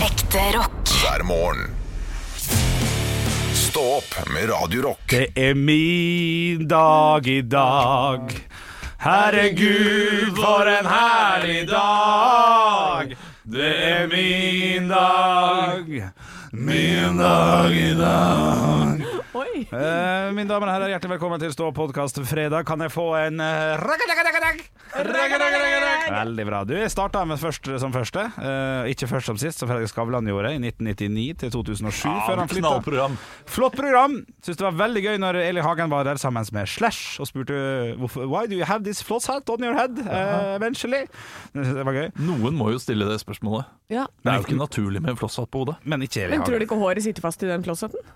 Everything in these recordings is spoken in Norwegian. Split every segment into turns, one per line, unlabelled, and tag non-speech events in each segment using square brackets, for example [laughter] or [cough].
Ekte rock.
hver morgen. Stå opp med Radio Rock.
Det er min dag i dag. Herregud, for en herlig dag. Det er min dag. Min dag i dag.
Oi.
Eh, mine damer og herrer, hjertelig velkommen til Stå podkast fredag. Kan jeg få en eh, ragadagadadag? Ragadagadadag. Veldig bra. Du, jeg starta med først som første. Eh, ikke først som sist, som Fredrik Skavlan gjorde i 1999 til 2007, før han flytta.
Knallprogram.
Flott program. Syns det var veldig gøy når Eli Hagen var der sammen med Slash og spurte hvorfor, Why do you have this floss hat on your head? eh, eventually. Jeg synes Det var gøy.
Noen må jo stille det spørsmålet.
Ja.
Det er jo ikke naturlig med en flosshatt på hodet.
Men ikke Eli
Men tror du
Hagen.
ikke håret sitter fast i den flosshatten?
Eh,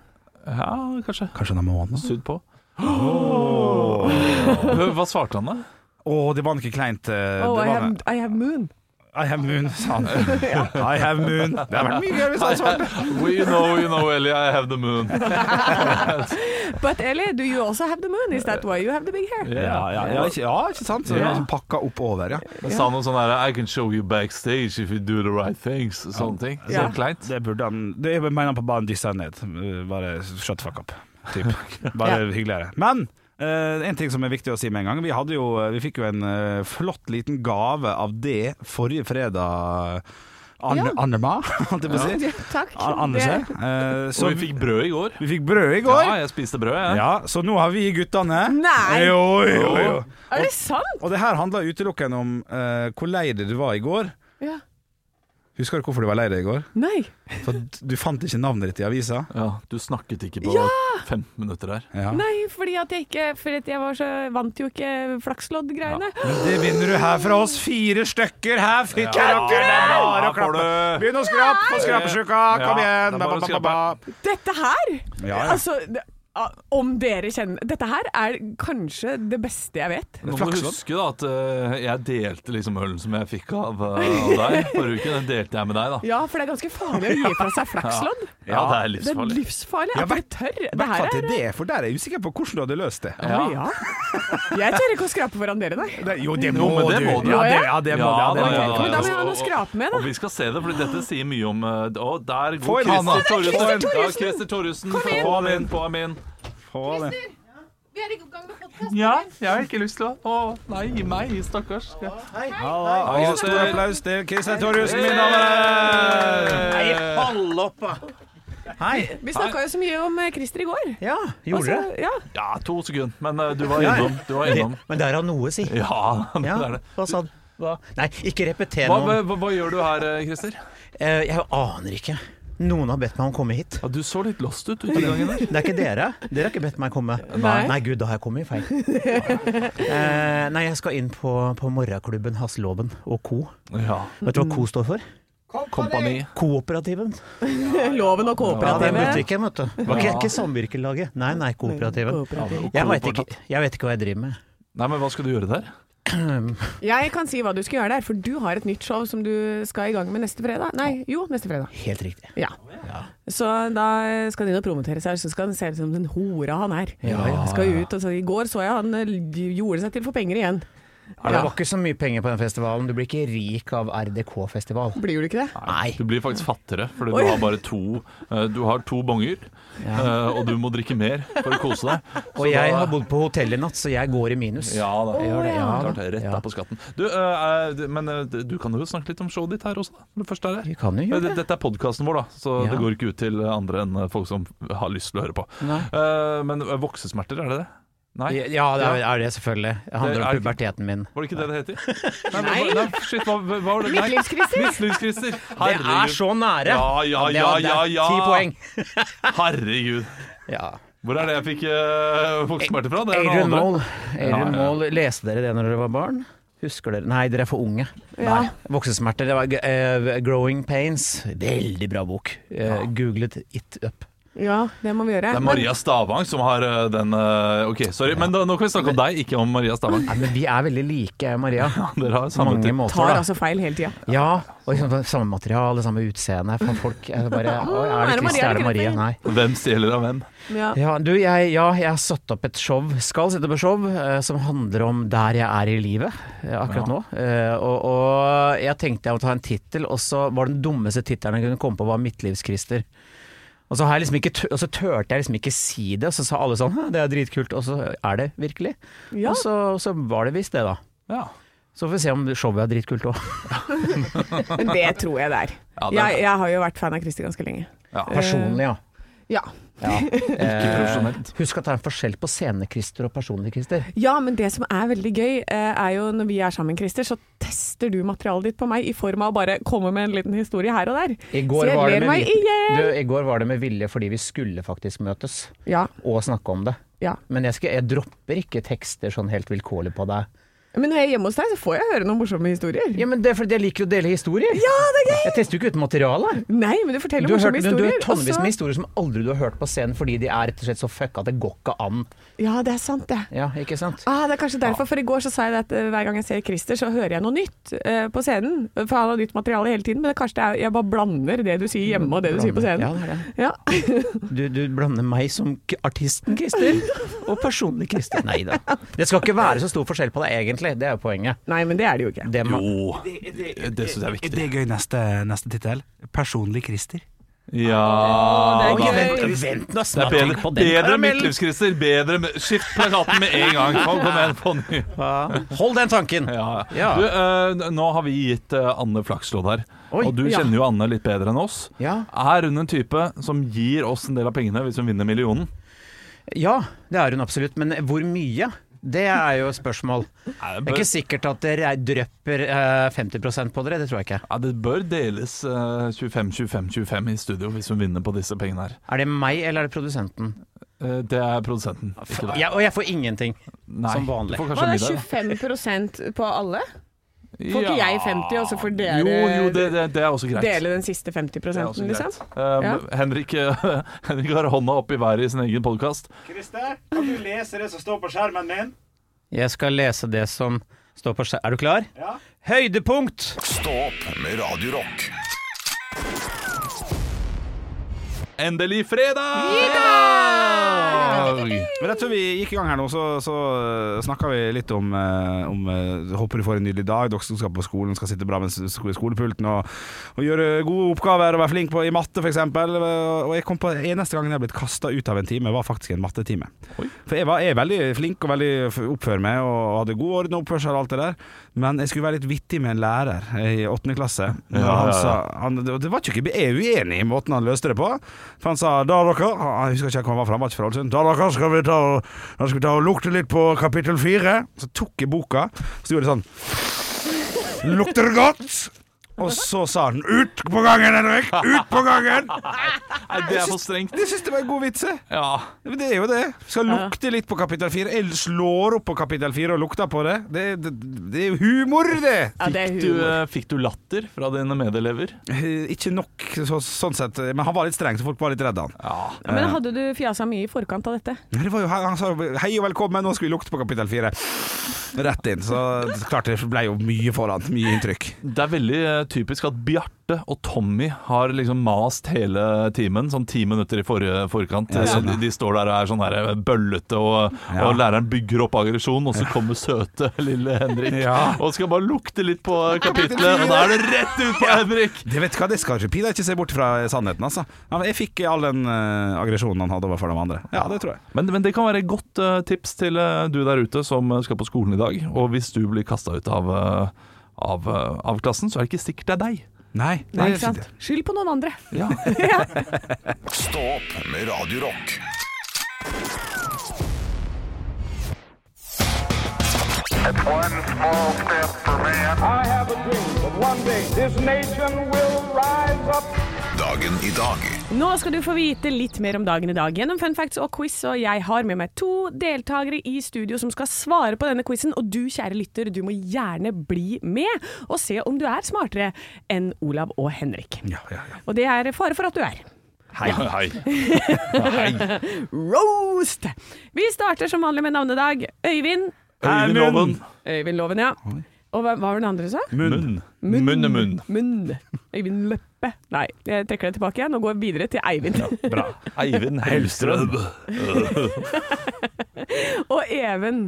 Ja, kanskje.
Kanskje han har måne?
Sudd på. Hva hva svarte han, da?
Å, det var noe kleint. eh, det
Oh, I
var
have, I have moon.
I have moon, [laughs] sa han. I have moon. Det har vært mye gøy hvis han svarte.
We know, you know, Ellie, I have the moon.
But Ellie, do you also have the moon? Is that why you have the big hair?
Ja, ja, ja, ikke, ja, ikke sant? Så
Ja.
han pakka opp over, ja.
Jeg sa noe sånn her I can show you backstage if you do the right things. Sånne ting.
Ja.
Så kleint.
Det burde han Det jeg mener han på banen dissa han ned. Eh, Bare shut the fuck up.
[laughs]
Typ. Bare hyggeligere. Men eh, en ting som er viktig å si med en gang. Vi, hadde jo, vi fikk jo en eh, flott liten gave av det forrige fredag. Anne,
Ja.
Annema, [laughs] holdt jeg på å si.
[laughs] Ja, takk.
An Anderse.
Det-
Eh, så
Så vi fikk brød i går.
vi fikk brød i går.
Ja, jeg spiste brød, jeg.
Ja, så nå har vi guttene
Nei.
Jo, jo, jo.
Er det sant?
Og det her handla utelukkende om eh, hvor lei deg du var i går.
Ja.
Husker du hvorfor du var lei deg i går?
Nei.
For du fant ikke navnet ditt i avisa.
Ja, du snakket ikke på
Ja!
15 minutter her.
Ja.
Nei, fordi at jeg ikke Fordi at jeg var så vant jo ikke flakslodd-greiene.
Det vinner du her fra oss. Fire stykker her. Fytti rakkeren, det er bare å
Her får
klappe.
du-
Begynn å skrape på skrapesjuka. Kom
Ja,
igjen.
det er
Ba,
bare
ba,
å
ba,
skrape.
ba.
Dette her!
Ja, ja.
Altså, det- ah, om dere kjenner Dette her er kanskje det beste jeg vet.
Nå må du
Flakslodd.
huske da at eh, jeg delte liksom ølen som jeg fikk av, eh, av deg forrige uke. Den delte jeg med deg, da.
Ja, for det er ganske farlig
[laughs]
å gi fra seg flakslodd.
Ja, det er
Det er
livsfarlig.
livsfarlig
Ja, i
at du
hvert-
tør.
I
Det
hvert
her
fall til
er
det, for der er jeg usikker på hvordan du hadde løst det.
ja. ja. Jeg tør ikke å skrape foran dere, nei.
Det- Jo, det
Jo,
må
men
du.
det må du.
Ja, det, ja, det må
Ja,
du. Ja, det
da,
må
ja,
du.
Men da må
ja.
jeg ha noe å skrape med,
Og
da.
vi skal se det, for dette sier mye om eh, Å, der
Få
går
inn han, da.
Christer
Der er
Thoresen.
Christer
Ja,
Thoresen.
Christer Thoresen.
Kom inn.
Få han inn, få ham inn.
Få det.
Vi er i gang med podkast.
Ja, jeg har ikke lyst til å Å, nei, gi meg, stakkars.
Ja, og Stor applaus til Kristian Thorjussen, mine damer og herrer.
Hei,
Vi snakka jo så mye om eh, Christer i går.
Ja, gjorde
Altså,
det?
ja.
Ja, to sekunder. Men eh, du var innom. Du var innom.
Men der har noe å si.
Ja, det
Ja,
er det.
hva sa han? Hva? Nei, ikke repeter
Hva,
noe.
hva, hva gjør du her, eh, Christer?
Eh, Jeg aner ikke. Noen har bedt meg om å komme hit.
Ja, du så litt lost ut ute i gangen der.
Det er ikke dere. Dere har ikke bedt meg komme.
Nei.
Nei, gud, da har jeg kommet i feil.
[laughs]
Eh, Nei, jeg skal inn på, på morgenklubben Hasselåben og Co.
Ja.
Vet du hva Co står for?
Kompani.
Kooperativen.
Loven og
Ja, det er
kooperativet.
butikken, vet du. Ikke, ikke samvirkelaget. Nei, nei, kooperativen. Jeg vet, ikke, jeg vet ikke hva jeg driver med.
Nei, men hva skal du gjøre der?
Jeg kan si hva du skal gjøre der, for du har et nytt show som du skal i gang med neste fredag. Nei, jo, neste fredag.
Helt riktig.
Ja. Så da skal han inn og promotere seg, så skal han se ut som den hora han er. Han skal jo ut, og så I går så jeg han eh, gjorde seg til for penger igjen.
Det
Ja.
var ikke så mye penger på den festivalen. Du blir ikke rik av RDK-festival.
Blir du ikke det?
Nei.
Du blir faktisk fattigere, fordi
Oi.
du har bare to eh, Du har to bonger, eh, og du må drikke mer for å kose deg.
Og jeg har bodd på hotell i natt, så jeg går i minus.
Ja da.
Gjør det, ja
Klart,
da.
det, rett
Ja.
der på skatten. Du, eh, eh, du- men eh, du kan jo snakke litt om showet ditt her også, da. Når du først er
Vi
her.
kan
Men
jo gjøre
det-
det.
Dette er podkasten vår, da, så
Ja.
det går ikke ut til andre enn eh, folk som har lyst til å høre på.
Nei.
Eh, men eh, voksesmerter, er det det? Nei?
Ja, det er, er det selvfølgelig. Det handler
Det
om
er-
puberteten min.
Var det ikke det det heter?
[laughs]
Nei! men- nei shit, hva, hva var det? Nei.
Midtlivskriser.
[laughs] Midtlivskriser.
Det er
Herregud.
så nære!
Ja, ja,
Det
ja, ja,
var- det er
ja.
Ti poeng.
Herregud.
Ja.
Hvor er det jeg fikk uh, voksesmerter fra? Det er noen
Adrian
andre.
Moll.
Ja, ja.
Adrian Moll, leste dere det når dere var barn? Husker dere? Nei, dere er for unge.
Ja.
Nei. Voksesmerter. Det var eh, 'Growing Pains'. Veldig bra bok. Eh, Googlet it up.
Ja, det må vi gjøre.
Det er Maria Stavang som har eh, den eh, OK, sorry, men da, nå kan vi snakke om deg, ikke om Maria Stavang.
Nei, men vi er veldig like, jeg og Maria.
[laughs] Dere har samme
Mange
type.
Men tar
måter, da.
altså feil hele tida.
Ja, og liksom, samme materiale, samme utseende. Faen, folk er bare «Å, Ah, Er det Christer, er det Maria? Nei.
Hvem stjeler av hvem?
Ja.
Ja, du, jeg, ja, jeg har satt opp et show, skal sette opp et show, eh, som handler om der jeg er i livet eh, akkurat nå. Eh, og, og jeg tenkte jeg måtte ha en tittel, og så var den dummeste tittelen jeg kunne komme på, var 'Midtlivskrister'. Og så, har jeg liksom ikke, tø- og så turte jeg liksom ikke si det, og så sa alle sånn «Hæ, 'det er dritkult', og så er det virkelig.
Ja.
Og så, og så var det visst det, da.
Ja.
Så får vi se om showet er dritkult òg.
Men det tror jeg det er.
Ja, det er
Jeg,
det.
jeg har jo vært fan av Kristi ganske lenge.
Eh, Personlig, ja.
Ja.
Ikke profesjonelt.
Eh, Husk at det er en forskjell på scenekrister og personlig-krister.
ja, men det som er veldig gøy, eh, er jo når vi er sammen, Christer, så tester du materialet ditt på meg i form av å bare komme med en liten historie her og der.
I
Så
går,
jeg
var det
ler
med
meg
vilje,
igjen.
du, I går var det med vilje fordi vi skulle faktisk møtes
Ja,
og snakke om det.
ja.
Men jeg, skal, jeg dropper ikke tekster sånn helt vilkårlig på deg.
Men når jeg er hjemme hos deg, så får jeg høre noen morsomme historier.
Ja, men Det er fordi jeg liker å dele historier.
Ja, det er gøy!
Jeg tester jo ikke ut materiale.
Nei, men du forteller
Du har, hørt,
morsomme
du, du
historier. altså.
har tonnevis
og så-
med historier som aldri du har hørt på scenen fordi de er rett og slett så fucka at det går ikke an.
Ja, det er sant, det.
Ja, ikke sant?
Ah, det er kanskje derfor, for i går så sa jeg det at eh, hver gang jeg ser Christer, så hører jeg noe nytt eh, på scenen. For han har nytt materiale hele tiden, men det er kanskje det er, jeg bare blander det du sier hjemme og det du sier på
Ja,
scenen.
det er det.
Ja. [laughs]
Du, du blander meg som k- artisten Christer og personlig Christer. Nei da. Det skal ikke være så stor forskjell på deg egentlig, det er jo poenget.
Nei, men det er det jo ikke.
Det må,
Jo, det syns jeg er
Er
viktig.
det gøy neste, neste tittel? Personlig Christer.
Ja
Å, det er gøy.
da.
Vent, vent nå,
Det er
snart
bedre,
tenk på den
bedre
karamellen.
midtlivskrister. Bedre med, skift plakaten med en gang. Kom, kom igjen, på ny.
Hold den tanken.
Ja.
Ja.
Du, eh, nå har vi gitt eh, Anne Flakslodd her.
Oi,
og du
ja.
kjenner jo Anne litt bedre enn oss.
Ja.
Er hun en type som gir oss en del av pengene hvis hun vinner millionen?
Ja, det er hun absolutt. Men hvor mye? Det er jo et spørsmål. Det
Nei,
er ikke sikkert at dere drøpper eh, 50 på dere, det tror jeg ikke.
ja, det bør deles eh, 25-25-25 i studio hvis hun vinner på disse pengene her.
Er det meg eller er det produsenten?
Eh, det er produsenten. Ikke deg.
Ah, Ja, og jeg får ingenting.
Nei,
som vanlig.
Du får
Hva,
kanskje
det er
sånn middag.
25 på alle?
da.
Får ikke
Ja.
jeg 50, og så får dere
Jo, jo, det, det, det er også greit.
dele den siste 50
Det er også
liksom?
greit. Eh,
Ja.
Henrik, [laughs] Henrik har hånda opp i været i sin egen podkast.
Christer, kan du lese det som står på skjermen min?
Jeg skal lese det som står på skjerm. Er du klar?
Ja.
Høydepunkt!
Stå opp med Radio Rock.
Endelig fredag! fredag!
Men jeg tror vi gikk i gang her nå, så, så snakka vi litt om, eh, om eh, Håper du får en nydelig dag. Dere som skal på skolen, skal sitte bra med sko- skolepulten og, og gjøre gode oppgaver og være flink på, i matte, f.eks. Og jeg kom på eneste gangen jeg har blitt kasta ut av en time, var faktisk en mattetime. For jeg, var, jeg er veldig flink og veldig f- oppfører meg og hadde god orden og oppførsel og alt det der, men jeg skulle være litt vittig med en lærer eh, i åttende klasse. Og
ja,
han
ja.
sa han, og det var ikke, Jeg er uenig i måten han løste det på. For han sa da dere Han husker ikke hvor han var fra, han var ikke fra Ålesund. Da dere skal vi ta og, da skal vi ta og lukte litt på kapittel fire. Så tok jeg boka, så gjorde jeg sånn Lukter det godt? Og så sa han ut på gangen, Henrik! Ut på gangen!
Nei, det er for strengt.
Jeg syns det var en god vits, jeg.
Ja.
Men det er jo det. Skal lukte litt på kapittel 4. Jeg slår opp på kapittel 4 og lukter på det. Det, det, det er jo humor, det!
Ja, det er
Du,
humor.
eh, fikk du latter fra dine medelever?
Eh, Ikke nok så, sånn sett, men han var litt streng, så folk var litt redde han.
Ja.
Men hadde du fjasa mye i forkant av dette?
Men det var jo, han sa jo 'hei og velkommen, nå skal vi lukte på kapittel 4'. Rett inn. Så klart det ble jo mye foran. Mye inntrykk.
Det er veldig eh, typisk at Bjarte og Tommy har liksom mast hele timen, sånn ti minutter i forrige forkant. de, de står der og er sånn her eh, bøllete, og,
Ja.
og læreren bygger opp aggresjon, og så kommer søte [laughs] lille Henrik
Ja.
og skal bare lukte litt på kapitlet, og da er det rett ut på Henrik!
Det vet du hva, det skal ikke Pida ikke se bort fra sannheten, altså. Ja, men Jeg fikk all den eh, aggresjonen han hadde overfor de andre. Ja, det tror jeg.
Men, men det kan være et godt eh, tips til eh, du der ute som eh, skal på skolen i dag. Og hvis du blir kasta ut av, eh, av, eh, av klassen, så er det ikke sikkert det er deg.
Nei,
Nei,
det
ikke sant? Skyld på noen andre.
Ja.
Stå opp med Radio Rock.
I have a dream that one day this nation will rise up.
Dagen i dag
Nå skal du få vite litt mer om dagen i dag gjennom fun facts og quiz, og jeg har med meg to deltakere i studio som skal svare på denne quizen. Og du, kjære lytter, du må gjerne bli med og se om du er smartere enn Olav og Henrik.
Ja, ja, ja.
Og det er fare for at du er.
[laughs] Hei, hei.
Roast! Vi starter som vanlig med navnedag. Øyvind.
Øyvind Loven.
Øyvind Loven, ja. Og hva, hva var den andre du sa?
Munn. Munn og munn.
Munn. Øyvind Løppe. Nei, jeg trekker det tilbake igjen og går videre til Eivind.
Bra. Eivind Hellstrøm.
[laughs] Og Even.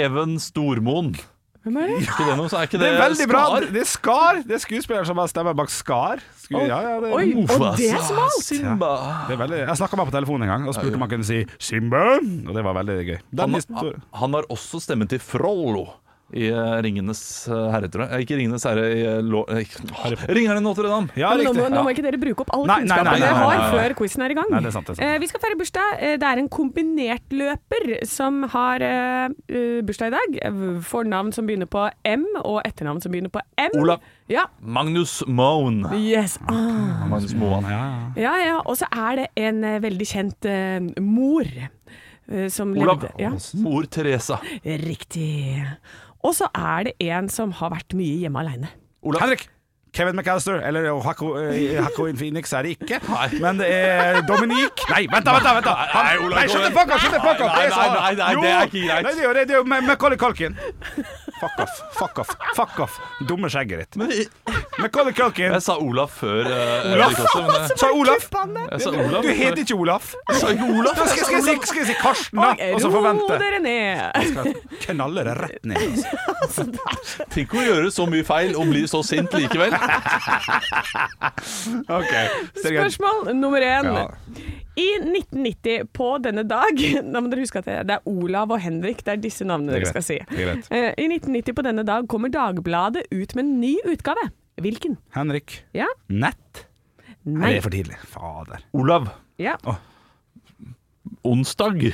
Even Stormoen.
Hvem er det?
Ikke det noe, så er ikke
Det
det,
er veldig bra!
Skar?
Det er Skar! Det er skuespiller som har stemmer bak Skar. Sku, ja, ja, det,
Oi, og
Uff,
det
ass.
er smalt!
Simba.
det er veldig, jeg snakka bare på telefonen en gang og spurte om han kunne si 'Simba', og det var veldig gøy. Den
Han,
histor-
han har også stemmen til Frollo i eh, Ringenes herre, tror jeg. Eh, Ikke Ringenes herre i eh, Lo- eh, Ringeren i Notre-Dame.
ja,
Men nå, må,
riktig.
nå må ikke dere bruke opp all
Nei, nei, nei,
kunnskapen dere
nei, nei,
har
nei, nei.
før quizen er i gang.
Nei, det er sant, det er sant.
Eh, vi skal feire bursdag. Eh, Det er en kombinertløper som har eh, eh, bursdag i dag. Eh, Fornavn som begynner på M, og etternavn som begynner på M.
Olav
Ja.
Magnus Moan.
Yes. Ah.
Magnus Moan.
Ja,
Ja, ja. Og så er det en eh, veldig kjent eh, mor eh, som
Olav.
levde ja.
Mor Teresa.
Riktig. Og så er det en som har vært mye hjemme aleine.
Olav.
Henrik! Kevin McAllister, eller Hako, eh, Hako in Phoenix er det ikke.
Nei.
Men det er Dominique Nei, vent da, vent da! Vent da. Han,
Nei, Olav,
nei, shut the fuck up! Shut the fuck up. Det
Nei,
er sånn.
nei, nei, nei,
Jo.
det er ikke greit.
Nei, det er jo det, det er jo Ma- Macaulay Culkin. Fuck off, fuck off, fuck off. Dumme skjegget ditt.
Men jeg,
Macaulay Culkin.
jeg sa Olav før eh,
Olav.
Erik også, men jeg,
Sa Olaf.
jeg sa Olav.
Du heter ikke Olaf.
Jeg sa ikke Olav.
Da skal, skal, jeg si, skal jeg si Karsten, da, og så forvente.
dere
[laughs]
ned!
Skal knalle det rett ned. Altså.
Tenk å gjøre så mye feil og bli så sint likevel.
Ok, seriøst.
Spørsmål nummer én.
Ja.
I 1990 på denne dag [laughs] Nå må dere huske at det- det er Olav og Henrik, det er disse navnene
Det er
dere skal
greit.
si.
Det er greit.
Eh, I 1990 på denne dag kommer Dagbladet ut med en ny utgave. Hvilken?
Henrik.
Ja?
Nett? Nei,
Nei?
det er for tidlig. Fader.
Olav.
Ja.
Onsdag.
Hen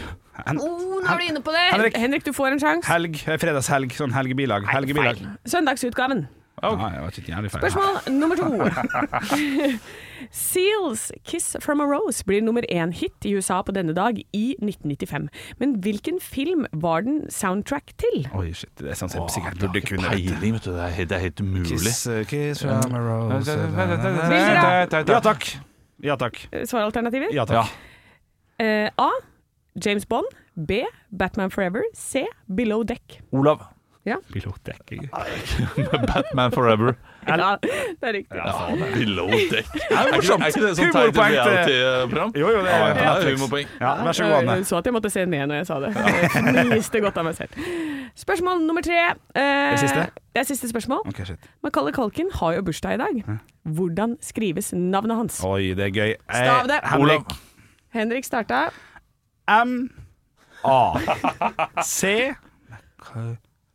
Oh, nå er du inne på det!
Henrik.
Henrik, du får en sjanse.
Helg. eh, Fredagshelg. Sånn helgebilag. Helgebilag.
Søndagsutgaven.
Nei, det var ikke jævlig feil.
Spørsmål nummer to. Seals' 'Kiss from a Rose' blir nummer én-hit i USA på denne dag i 1995. Men hvilken film var den soundtrack til?
Oi, shit. Det er sånn som jeg sikkert
Du har
burde
ikke
kunne vet du.
peiling, vet du. Det er helt, det er helt umulig.
Kiss, uh, kiss from a rose. eh,
Bilder,
Ja takk. Ja takk.
Eh, Svaralternativer?
Ja
Ja.
takk.
Eh, A. James Bond. B. Batman Forever. C. Below Deck.
Olav.
Pilotdekking.
Batman
[laughs]
Forever.
Ja, det er riktig.
Ja, below deck. Er ikke
morsomt.
er ikke det sånn
Humorpoeng
teit
til-
reality-program?
Jo, jo, det er
Ja,
på Netflix.
humorpoeng.
Ja, vær så god, Anne.
Jeg Eh, så at jeg måtte se ned når jeg sa det. Jeg fniste godt av meg selv. Spørsmål nummer tre. Eh,
Det siste?
Det er siste spørsmål.
Ok, shit.
Macaulay Culkin har jo bursdag i dag. Hvordan skrives navnet hans?
Oi, det er gøy. Eh,
Stav det.
Henrik.
Olav.
Henrik starta.
M A C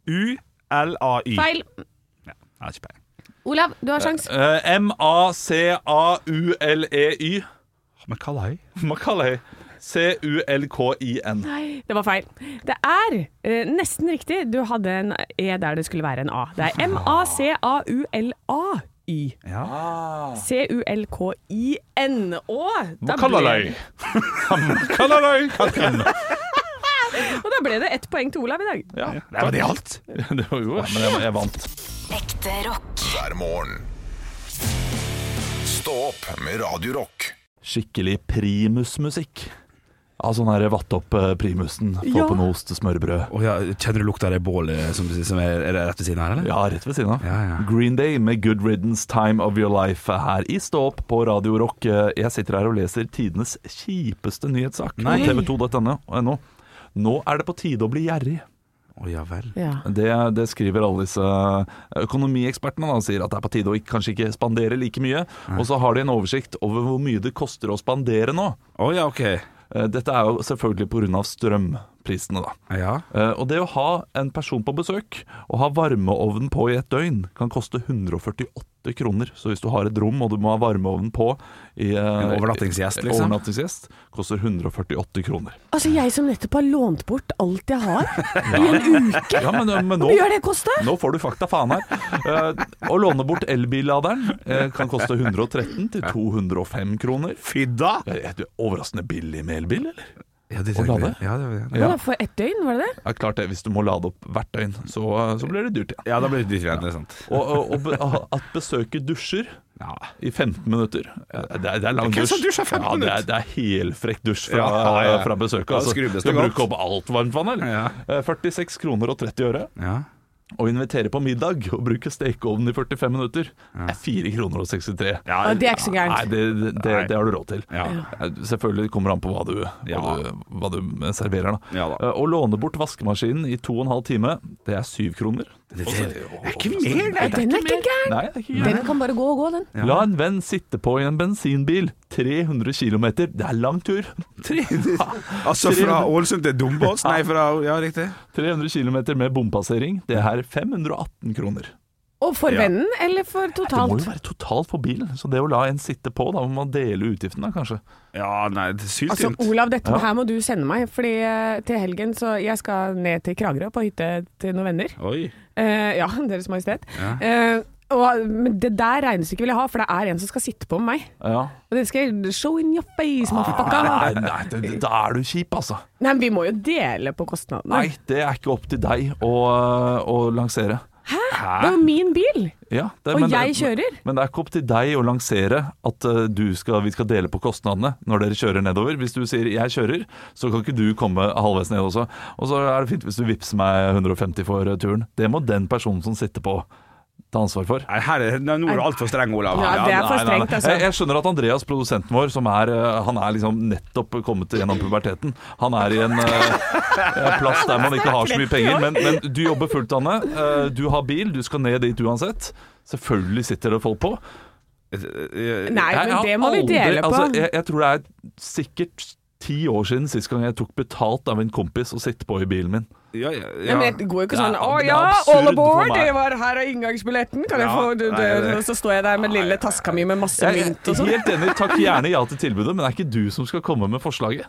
U L A Y.
Feil.
Jeg har ikke peiling.
Olav, du har sjans.
Eh,
E
M-A-C-A-U-L-E-Y.
Macaulay.
Macaulay. C-U-L-K-I-N.
Det var feil. Det er eh, nesten riktig. Du hadde en E der det skulle være en A. Det er M-A-C-A-U-L-A-Y.
Ah.
C-U-L-K-I-N. Og da, ble,
Macaulay. Macaulay.
[laughs] og da ble det ett poeng til Olav i dag.
Ja,
Det var det alt.
det var jo ja, Men jeg, jeg vant.
Ekte rock.
hver morgen. Stå opp med Radio Rock.
Skikkelig primusmusikk. Av sånn her vatt opp eh, primusen. Få
Ja.
på noe ostesmørbrød.
Oh, ja, kjenner du lukta av det bålet som, som er, er det rett ved siden her, eller?
Ja, rett ved siden av.
Ja, ja.
Green Day med Good Riddance Time of Your Life her i Stå opp på Radio Rock. Jeg sitter her og leser tidenes kjipeste nyhetssak på
Nei.
tv2.no. Nå er det på tide å bli gjerrig.
Å ja vel.
Det, det skriver alle disse eh, økonomiekspertene. Da, sier at det er på tide å ikke- kanskje ikke spandere like mye. Og så har de en oversikt over hvor mye det koster å spandere nå.
Å ja, ok.
Eh, Dette er jo selvfølgelig pga. strømprisene, da.
Ja.
Eh, Og det å ha en person på besøk og ha varmeovnen på i et døgn kan koste 148 kroner. Så hvis du har et rom og du må ha varmeovnen på i, eh,
En overnattingsgjest, liksom.
overnattingsgjest, koster 148 kroner.
Altså, jeg som nettopp har lånt bort alt jeg
[laughs]
har i en uke.
Ja, men, men nå,
Hvor mye har det kosta?
nå får du fakta faen her. Eh, Å låne bort elbilladeren eh, kan koste 113 til 205 kroner. Eh,
Fy da!
Er det overraskende billig med elbil, eller?
Ja, de
Og
trenger
lade?
det. Ja, det, ja.
Ja.
Å, For ett døgn, var det det?
Ja, klart det. Hvis du må lade opp hvert døgn, så, så blir det dyrt, ja.
ja, da blir det dyrt igjen, det er sant.
Og, og, og be- at besøket dusjer
Ja.
i 15 minutter Det er, det er lang
Hvem
dusj.
som dusjer 15
ja, det er,
minutter?
det er helfrekk dusj fra,
Ja, ja, ja.
fra besøket.
Da
Altså.
skrubbes det
Skal
godt.
bruke opp alt varmt vann, eller?
Ja.
Eh, 46 kroner og 30 øre.
Ja.
Å invitere på middag og bruke stekeovnen i 45 minutter er 4 kroner og 63.
Å, det er ikke så gærent.
Nei, det, det, det, det har du råd til.
Ja.
Eh, Selvfølgelig kommer det an på hva du, hva
Ja.
du, hva du serverer. Da.
Ja da.
Eh, Å låne bort vaskemaskinen i 2,5 time, det er 7 kroner. Det er ikke mer,
Nei, den er ikke gæren!
Nei, det er ikke gærent.
Den kan bare gå og gå, den.
La en venn sitte på i en bensinbil 300 km. Det er lang tur. 300
Altså fra Ålesund til Dombås? Nei, fra Ja, riktig.
300 km med bompassering. Det er 518 kroner.
Og for
Ja.
vennen, eller for
Det må
totalt?
jo være totalt på bilen, så det å la en sitte på, da må man dele utgiftene, kanskje.
Ja, nei, det er
Altså,
syltynt.
Olav, dette her må du sende meg, Fordi eh, til helgen så jeg skal ned til Kragerø på hytte til noen venner.
Oi.
Eh, ja, [laughs] Deres Majestet. Eh, og, men det der regnestykket vil jeg ha, for det er en som skal sitte på meg.
Ja.
Og det skal jeg show in your face, motherfucker.
Ah. Nei, nei, det- det- da er du kjip, altså.
Nei, men vi må jo dele på kostnadene.
Nei, det er ikke opp til deg å, eh, å lansere.
Det er jo min bil!
Ja, det,
Og
men det-
jeg kjører.
Men det er ikke opp til deg å lansere at eh, du skal, vi skal dele på kostnadene når dere kjører nedover. Hvis du sier 'jeg kjører', så kan ikke du komme halvveis ned også. Og så er det fint hvis du vippser meg 150 for eh, turen. Det må den personen som sitter på, ta ansvar for.
Nei, her er, nå er du altfor streng, Olav.
Ja, det er for
Nei, nei, nei.
strengt, altså.
Jeg, jeg skjønner at Andreas, produsenten vår, som er, eh, han er liksom nettopp kommet gjennom puberteten Han er i en eh, plass der man ikke har så mye penger. Men, men du jobber fullt, Anne. Eh, Du har bil, du skal ned dit uansett. Selvfølgelig sitter det folk på.
Nei, men
har
det må vi
aldri-
dele på.
Altså, jeg, jeg tror det er sikkert ti år siden sist gang jeg tok betalt av en kompis å sitte på i bilen min.
Ja, ja,
Ja,
ja.
men det går jo ikke
Det er-
sånn Å
det er
ja,
absurd
all aboard!
for meg.
Det var her er inngangsbilletten. Kan jeg
Ja,
få du, du,
nei, det-
og Så står jeg der med lille taska mi med masse
Jeg
mynt og
er
sånn.
helt enig, takk gjerne ja til tilbudet, men det er ikke du som skal komme med forslaget.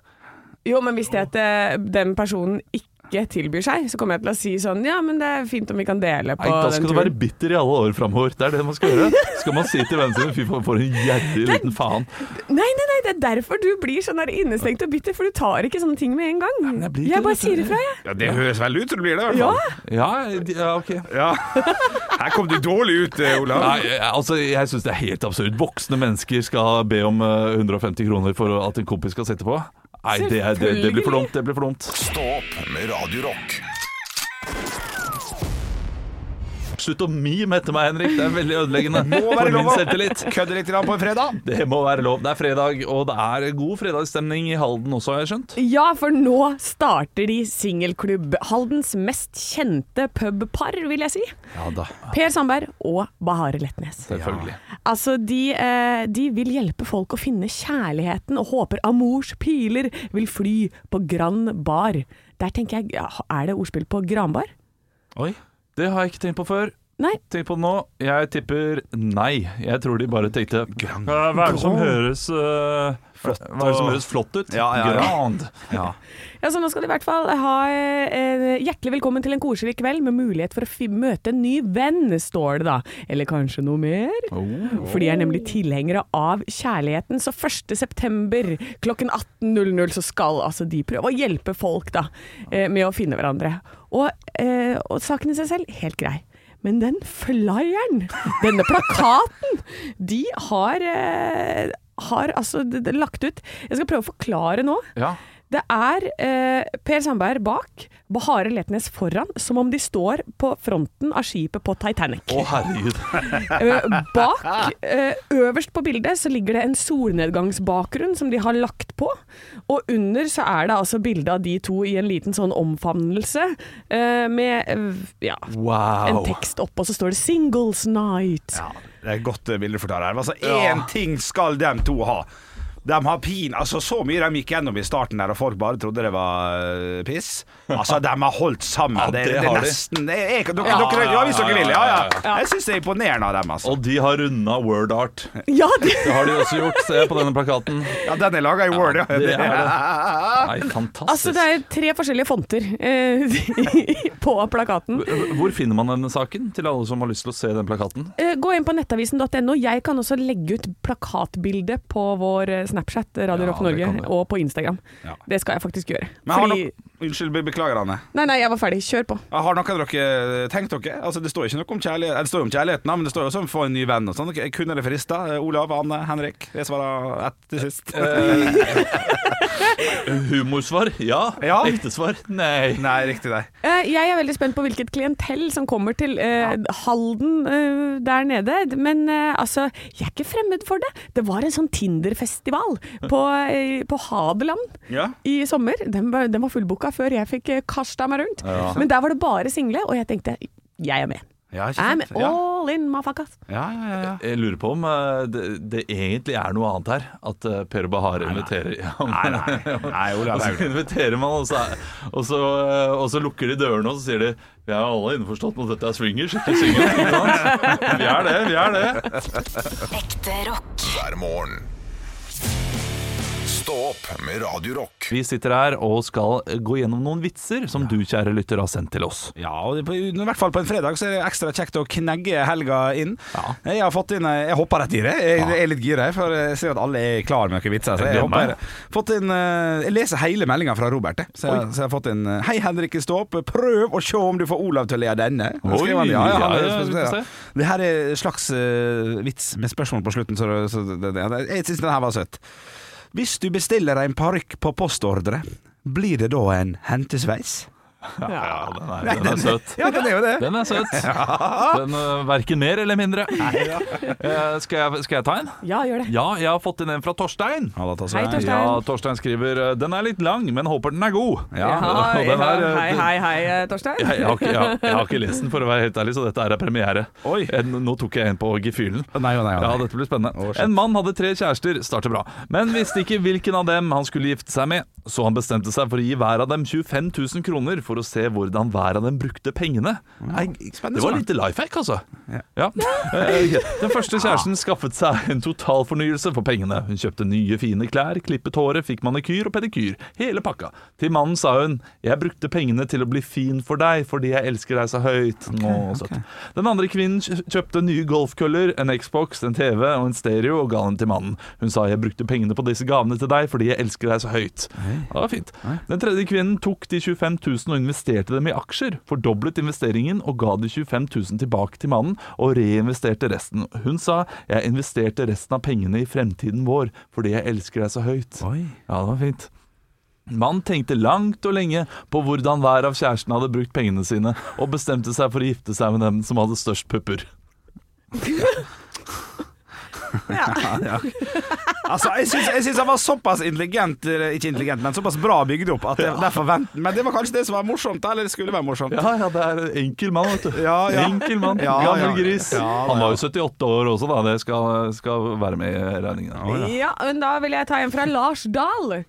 Jo, men hvis det at eh, den personen ikke tilbyr seg, så kommer jeg til å si sånn Ja, men det er fint om vi kan dele på
Nei, da skal
den
du være
turen.
bitter i alle år framover. Det er det man skal gjøre. Skal man si til vennene sine fy faen, for en gjerrig liten faen.
Nei, nei, nei, det er derfor du blir sånn der innestengt og bitter, for du tar ikke sånne ting med en gang.
jeg
Jeg,
blir ikke det,
bare
vet du.
sier ifra, jeg.
ja, det høres vel ut som det blir det, i hvert
Ja.
fall.
Ja, de- ja ok.
Ja. Her kom du dårlig ut, eh, Olav.
Nei, altså, jeg syns det er helt absurd. Voksne mennesker skal be om eh, 150 kroner for at en kompis skal sitte på. Nei, det, er- det, det blir for dumt. Det blir for dumt.
Stå opp med Radio Rock.
Slutt å mime etter meg, Henrik. Det er veldig ødeleggende
Må
for
være lov
min
å
selvtillit.
kødde litt grann på en fredag.
Det må være lov. Det er fredag, og det er god fredagsstemning i Halden også, har jeg skjønt.
Ja, for nå starter de singelklubb. Haldens mest kjente pubpar, vil jeg si.
Ja da,
Per Sandberg og Bahare Letnes.
selvfølgelig.
Altså, de, eh, de vil hjelpe folk å finne kjærligheten og håper amors piler vil fly på Grand Bar. Der tenker jeg, ja, er det ordspill på Granbar?
Oi.
Det har jeg ikke tenkt på før.
Nei.
Tenk på det nå. Jeg tipper nei. Jeg tror de bare tenkte
Grand.
Hva hva er det som høres eh, Hva er det som høres flott ut?
Ja, ja, ja.
Grand.
Ja, så nå skal de i hvert fall ha eh, eh, hjertelig velkommen til en koselig kveld med mulighet for å fi møte en ny venn, står det da. Eller kanskje noe mer? For de er nemlig tilhengere av kjærligheten. Så 1. september klokken 18.00 så skal altså de prøve å hjelpe folk da, eh, med å finne hverandre. Og, eh, og saken i seg selv, helt grei. Men den flyeren, denne plakaten, de har, eh, har altså d- d- lagt ut Jeg skal prøve å forklare nå.
Ja.
Det er eh, Per Sandberg bak, Bahare Letnes foran, som om de står på fronten av skipet på Titanic.
Å, herregud.
Eh, Bak, eh, øverst på bildet, så ligger det en solnedgangsbakgrunn som de har lagt på. Og under så er det altså bilde av de to i en liten sånn omfavnelse eh, med eh, ja, en
Wow.
tekst oppå, så står det 'Singles Night'.
Ja, det er et godt eh, bilde for det her. Altså, én ting skal de to ha. De har pin, altså Så mye de gikk gjennom i starten der, og folk bare trodde det var eh, piss. Altså, De har holdt sammen.
Ja,
det,
det
det, er
har de.
nesten det er- dere, dere, ja, hvis dere vil. Ja, ja. Jeg syns det er imponerende av dem. altså
Og de har runda word art.
Ja, det, [laughs]
Det har de også gjort. Se på denne plakaten.
[laughs] Ja, Den er laga i Word, ja.
Det er det. Nei,
altså,
fantastisk.
det er tre forskjellige fonter eh, [laughs] på plakaten.
Hvor finner man denne saken, til alle som har lyst til å se den plakaten?
Eh, Gå inn på nettavisen.no. Jeg kan også legge ut plakatbilde på vår eh, Snapchat, Radio
Ja,
Rock
det
Norge,
kan du.
og på Instagram.
Ja.
Det skal jeg faktisk gjøre.
Men har
Fordi
dere, [laughs] unnskyld, be- beklager Anne.
Nei, nei, jeg var ferdig. Kjør på.
Har noen av dere tenkt dere? Altså, det står ikke noe om kjærlighet eh, Det står jo om kjærligheten, da, men det står jo også om å få en ny venn og sånn. Dere- Kunne dere frista? Eh, Olav, Anne, Henrik. Jeg svarer ett til sist.
Humorsvar ja.
Ja.
Ekte svar nei.
[laughs] Nei, riktig det.
Eh, Jeg er veldig spent på hvilket klientell som kommer til eh, Halden eh, der nede. Men eh, altså, jeg er ikke fremmed for det. Det var en sånn Tinder-festival på, eh, på Hadeland
Ja.
i sommer. Den var, den var fullbooka før jeg fikk eh, kasta meg rundt. Men der var det bare single, og jeg tenkte jeg er med.
Ja, ikke
I'm
sant? Ja.
all in, motherfuckers.
Ja, ja, ja, ja.
Jeg lurer på om eh, det, det egentlig er noe annet her. At eh, Per og Bahar inviterer. Ja, men-
Nei, nei. nei
[laughs] Og
Olav
så
Haugland.
inviterer man, og så, er- og så, eh, og så lukker de dørene, og så sier de Vi er alle innforstått med at dette er swingers, ikke singel. ikke
[laughs]
sant?» Vi er det, vi er det.
Ekte rock.
hver morgen. Stå opp med Radio Rock.
Vi sitter her og skal gå gjennom noen vitser som du, kjære lytter, har sendt til oss.
Ja, og det, på, i hvert fall på en fredag så er det ekstra kjekt å knegge helga inn. Jeg har fått inn eh, Jeg hopper rett i det. Jeg, jeg er litt gira, jeg, for jeg ser at alle er klar med noen vitser. Så jeg,
Jeg gleder
hopper,
meg.
fått inn, eh, jeg leser hele meldinga fra Robert. jeg. Så jeg, så jeg har fått inn eh, Hei, Henrik i Ståp. Prøv å se om du får Olav til å le av denne.
Oi,
Skriver han, ja, ja, han,
ja, ja, vi får se.
Det her er en slags eh, vits med spørsmål på slutten, så, det- så det, det, det, jeg syns den her var søt. Hvis du bestiller en parykk på postordre, blir det da en hentesveis?
Ja, den er, den er søt.
Ja, det er jo det.
Den er søt. Den eh, Verken mer eller mindre. Eh, Skal jeg, skal jeg ta en?
Ja, gjør det.
Ja, jeg har fått inn en fra Torstein.
Ja, da tar
Hei,
jeg-
Torstein.
Ja, Torstein skriver eh, Den er litt lang, men håper den er god.
Ja.
og den er,
hei, hei, hei, eh, Torstein.
Jeg, jeg, har ikke, jeg, har- jeg har ikke lest den, for å være helt ærlig, så dette er premiere.
Oi.
Jeg, nå tok jeg en på gefühlen.
Nei, nei, nei.
Ja, dette blir spennende.
Å, shit.
en mann hadde tre kjærester, starter bra, men visste ikke hvilken av dem han skulle gifte seg med. Så han bestemte seg for å gi hver av dem 25 000 kroner for å se hvordan hver av dem brukte pengene. Nei,
spennende
det var
sånn.
litt life hack, altså. Ja. Eh, ok. Den første kjæresten skaffet seg en totalfornyelse for pengene. Hun kjøpte nye, fine klær, klippet håret, fikk manikyr og pedikyr. Hele pakka. Til mannen sa hun 'Jeg brukte pengene til å bli fin for deg fordi jeg elsker deg så høyt'. Nå, søtt. Den andre kvinnen kj- kjøpte nye golfkøller, en Xbox, en TV og en stereo og ga den til mannen. Hun sa 'Jeg brukte pengene på disse gavene til deg fordi jeg elsker deg så høyt'. Ja, det var fint. Den tredje kvinnen tok de 25 000 og investerte dem i aksjer, fordoblet investeringen og ga de 25 000 tilbake til mannen og reinvesterte resten. Hun sa 'jeg investerte resten av pengene i fremtiden vår fordi jeg elsker deg så høyt'.
Oi.
Ja, det var fint. Mannen tenkte langt og lenge på hvordan hver av kjærestene hadde brukt pengene sine, og bestemte seg for å gifte seg med dem som hadde størst pupper.
Altså, jeg syns, jeg syns han var såpass intelligent, eh, ikke intelligent, men såpass bra bygd opp at jeg, derfor vent, Men det var kanskje det som var morsomt, da, eller det skulle være morsomt.
Ja, ja, det er en enkel mann, vet du.
Ja, ja.
Enkel mann,
Ja, ja.
gammel gris.
Ja, da,
Han var jo 78 år også, da. Det skal, skal være med i regningen.
Ja, men da vil jeg ta en fra Lars Dahl.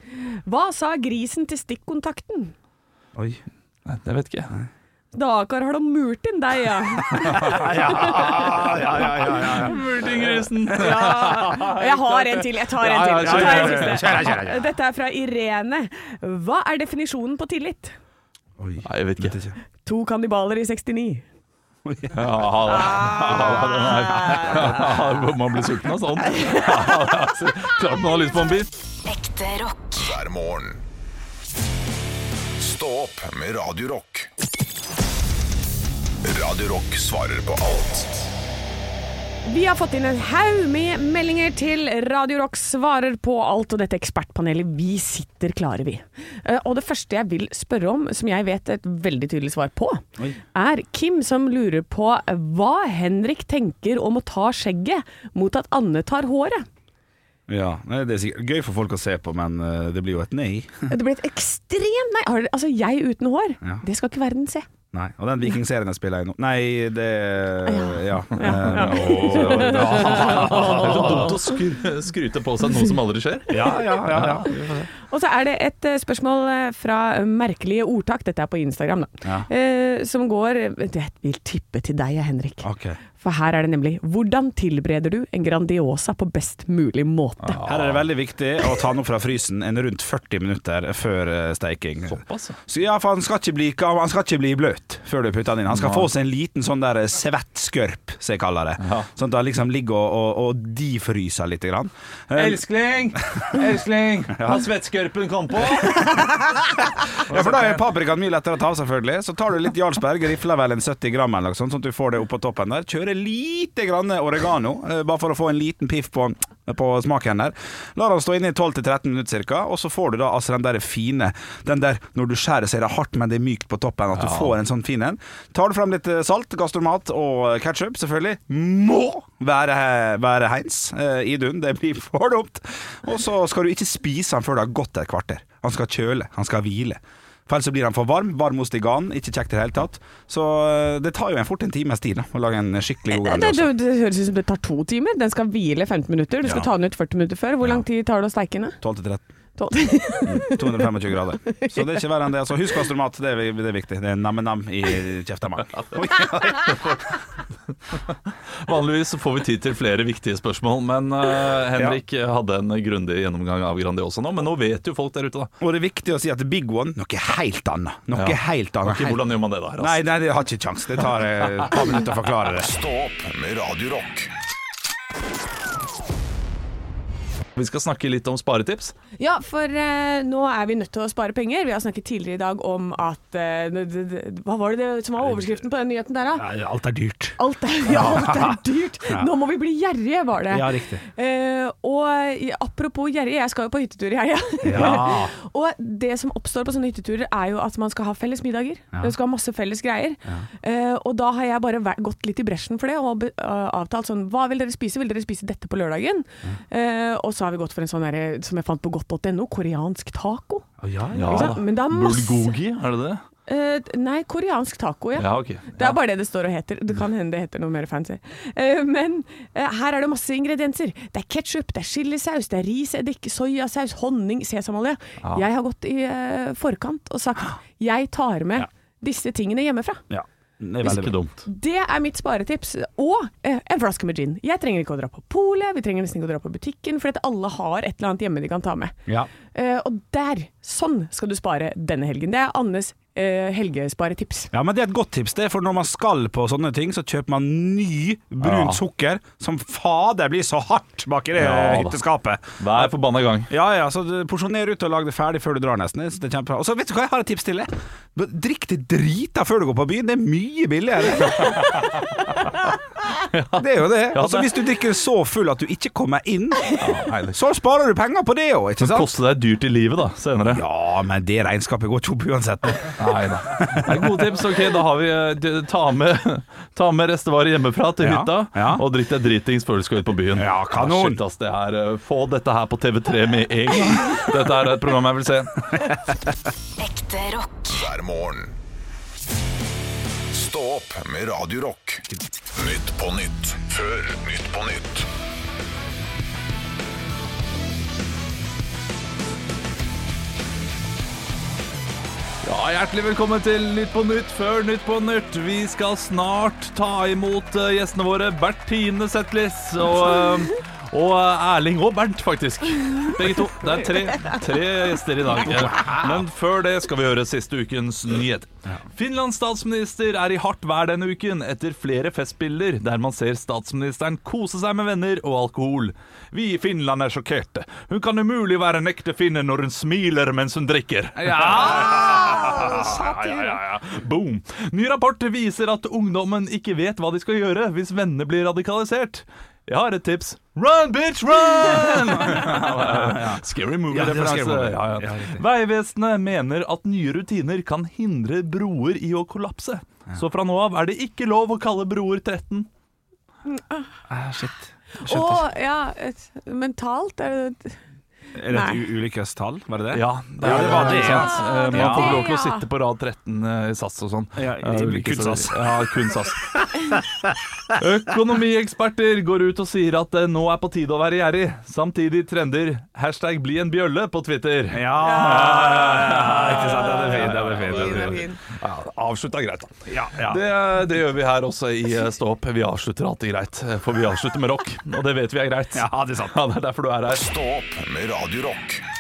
Hva sa grisen til stikkontakten?
Oi.
Nei, Jeg vet ikke.
Dakar har de murt inn deg, [laughs] ja.
Ja, ja, ja, ja, ja.
Multingrisen!
Jeg har en til. Jeg tar en
Ja, ja,
til. Så
kjør,
tar jeg
kjør,
en
kjør, kjør,
siste. Dette er fra Irene. Hva er definisjonen på tillit?
Oi.
Nei, jeg vet ikke.
To kannibaler i 69.
Ja, da.
Ah.
Ja, den er- Ja, [laughs] Man blir sulten av sånn. Ja, altså,
[laughs]
Klart man har lyst på en bit.
Ekte rock.
hver morgen. Stå opp med Radio Rock. Radio Rock svarer på alt
Vi har fått inn en haug med meldinger til Radio Rock svarer på alt, og dette ekspertpanelet, vi sitter klare, vi. Eh, Og det første jeg vil spørre om, som jeg vet et veldig tydelig svar på, er Kim som lurer på hva Henrik tenker om å ta skjegget mot at Anne tar håret.
Ja, nei, det er sikkert gøy for folk å se på, men eh, det blir jo et nei.
Det blir et ekstremt Nei, har dere- altså jeg uten hår,
Ja.
det skal ikke verden se.
Nei, Og den vikingserien jeg spiller i nå Nei, det Ja. Eh,
Ah.
Det er så dumt å skry- skryte på seg noe som aldri skjer.
Ja, ja, ja. ja.
Og så er det et eh, spørsmål eh, fra merkelige ordtak, dette er på Instagram, da.
Ja.
Eh, som går Det vil tippe til deg, Henrik.
Ok.
For her er det nemlig 'Hvordan tilbereder du en Grandiosa på best mulig måte'?
Her er det veldig viktig å ta den opp fra frysen en rundt 40 minutter før eh, steiking. Så ja, for han skal ikke bli, han skal ikke bli bløt før du putter den inn. Han skal få seg en liten sånn der svettsskørp, som jeg kaller det. Sånn at han liksom ligger og, og, og defryser litt. Grann. Eh,
Elskling! Elskling! Han svettskorpen kom på!
Ja, for da er paprikaen mye lettere å ta av, selvfølgelig. Så tar du litt Jarlsberg, rifler vel en 70 gram eller noe sånt, sånn at du får det opp på toppen der. Kjører lite grann oregano, eh, bare for å få en liten piff på, på smaken der. Lar den stå inne i 12-13 minutter ca., og så får du da altså den der fine Den der når du skjærer så er det hardt, men det er mykt på toppen, at du får en sånn fin en. Tar du frem litt eh, salt, gastromat og ketsjup, selvfølgelig. Må være, være heins eh, i dun, det blir [laughs] for dumt. Og så skal du ikke spise den før det har gått et kvarter. Han skal kjøle, han skal hvile. For ellers så blir han for varm. Varm ost i ganen, ikke kjekt i det hele tatt. Så eh, det tar jo en fort en times tid da, å lage en skikkelig god altså.
Det,
grandiosa.
det, det høres ut som det tar to timer. Den skal hvile 15 minutter. Du skal
Ja.
ta den ut 40 minutter før. Hvor lang tid tar det å steike den?
12 til 13.
Tolv.
225 grader. Så det er ikke verre enn det. Altså, husk gastromat, det er, vi- det er viktig. Det er nam-nam i kjeftamang.
Vanligvis så får vi tid til flere viktige spørsmål, men eh, Henrik hadde en grundig gjennomgang av Grandiosa nå. Men nå vet jo folk der ute, da.
Og det er viktig å si at big one, noe helt annet. Noe
Ja.
helt annet.
Ok, hvordan gjør man det, da? Rass?
Nei, nei, det har ikke kjangs. Det tar eh, et par minutter å forklare det.
Stå opp med Radio Rock.
Vi skal snakke litt om sparetips.
[laughs] Ja, for eh, nå er vi nødt til å spare penger. Vi har snakket tidligere i dag om at eh, det- det- det- Hva var det det som var overskriften på den nyheten der, da?
Alt er dyrt.
Alt er, ja, alt er dyrt!
[laughs]
Nå må vi bli gjerrige, var det.
Ja, riktig.
Eh, og eh, apropos gjerrig, jeg skal jo på hyttetur i helga.
Ja.
[laughs] og det som oppstår på sånne hytteturer er jo at man skal ha felles middager. Man skal ha masse felles greier. Eh, og da har jeg bare væ- gått litt i bresjen for det og be- eh, avtalt sånn Hva vil dere spise? Vil dere spise dette på lørdagen? Eh, og så har vi gått for en sånn derre som jeg fant på godt.no, koreansk taco. Ikke sant? Men det er masse
Bulgogi, er det det?
Eh, nei, koreansk taco, ja.
Ja, ok.
Det er bare det det står og heter. Det kan hende det heter noe mer fancy. Eh, Men eh, her er det masse ingredienser. Det er ketsjup, det er chilisaus, det er riseddik, soyasaus, honning, sesamolje. Jeg har gått i eh, forkant og sagt jeg tar med disse tingene hjemmefra.
Ja. Det er
Det er
veldig
ikke
bra.
dumt.
Det er mitt sparetips. Og eh, en flaske med gin. Jeg trenger ikke å dra på polet, vi trenger nesten ikke å dra på butikken, for at alle har et eller annet hjemme de kan ta med.
Ja.
Eh, Og der, sånn skal du spare denne helgen. Det er Annes eh, helgesparetips.
Ja, men det er et godt tips, det, for når man skal på sånne ting, så kjøper man ny brunt
Ja.
sukker, som fader blir så hardt bak i det
Ja, da.
hytteskapet.
Hver forbanna gang.
Ja, ja, så du- porsjoner ut og lag det ferdig før du drar, nesten. Det er kjempebra. Og så vet du hva, jeg har et tips til deg. Drikk det drita før du går på byen, det er mye
[laughs]
billigere. Det er jo det. Og så hvis du drikker så full at du ikke kommer inn, så sparer du penger på det òg, ikke
Det
sant?
koster deg dyrt i livet, da, senere.
Ja, men det regnskapet går ikke opp uansett.
Nei da. Det er gode tips. Ok, da har vi eh, d- Ta med, [laughs] ta med restevarer hjemmefra til
Ja,
hytta,
ja.
og drikk deg dritings før du skal ut på byen.
Ja, kanon.
Shit, ass, det er, eh, få dette her på TV3 med
[laughs]
en gang. Dette er et program jeg vil se.
Ekte rock.
hver morgen. Stå opp med Radio Rock. Nytt på nytt. Før Nytt på nytt.
Ja, Hjertelig velkommen til Nytt på Nytt før Nytt på Nytt. Vi skal snart ta imot eh, gjestene våre Bertine Zetlitz og, eh, og eh, Erling og Bernt, faktisk. Begge to. Det er tre, tre gjester i dag. Eh, Men før det skal vi høre siste ukens nyheter. Finlands statsminister er i hardt vær denne uken etter flere festbilder der man ser statsministeren kose seg med venner og alkohol. Vi i Finland er sjokkerte. Hun kan umulig være en ekte finne når hun smiler mens hun drikker. Ah, Ja! ja, ja, ja. Boom. Ny rapport viser at ungdommen ikke vet hva de skal gjøre hvis vennene blir radikalisert. Jeg har et tips. Run, bitch, [laughs] run! Scary movie-referanse.
Scary Movie.
Ja, ja. Vegvesenet mener at nye rutiner kan hindre broer i å kollapse. Så fra nå av er det ikke lov å kalle broer 13. Ah,
Og ja, et, mentalt er det
Er det et ulykkestall, var det det?
Ja, det,
Ja, det var det,
ikke
ja.
sant? Eh, Man
Ja.
får ikke lov til å
Det, ja.
sitte på rad 13 eh, i SAS og sånn.
Ja,
Eh,
i-
hvilke
kun SAS.
steder- Ja, kun SAS.
[laughs]
Økonomieksperter går ut og sier at det nå er på tide å være gjerrig. Samtidig trender hashtag bli en bjølle på Twitter.
Ja, ja, ja, ja, ja, ikke sant? Den er fin, den er fin. Den er fin.
Ja, avslutta greit, da.
Ja, ja.
Det, eh, det gjør vi her også i eh, Stå opp. Vi avslutter alltid greit, eh, for vi avslutter med rock. Og det vet vi er greit.
Ja, det er sant.
Ja, det er derfor du er her.
Stå opp med Radio Rock.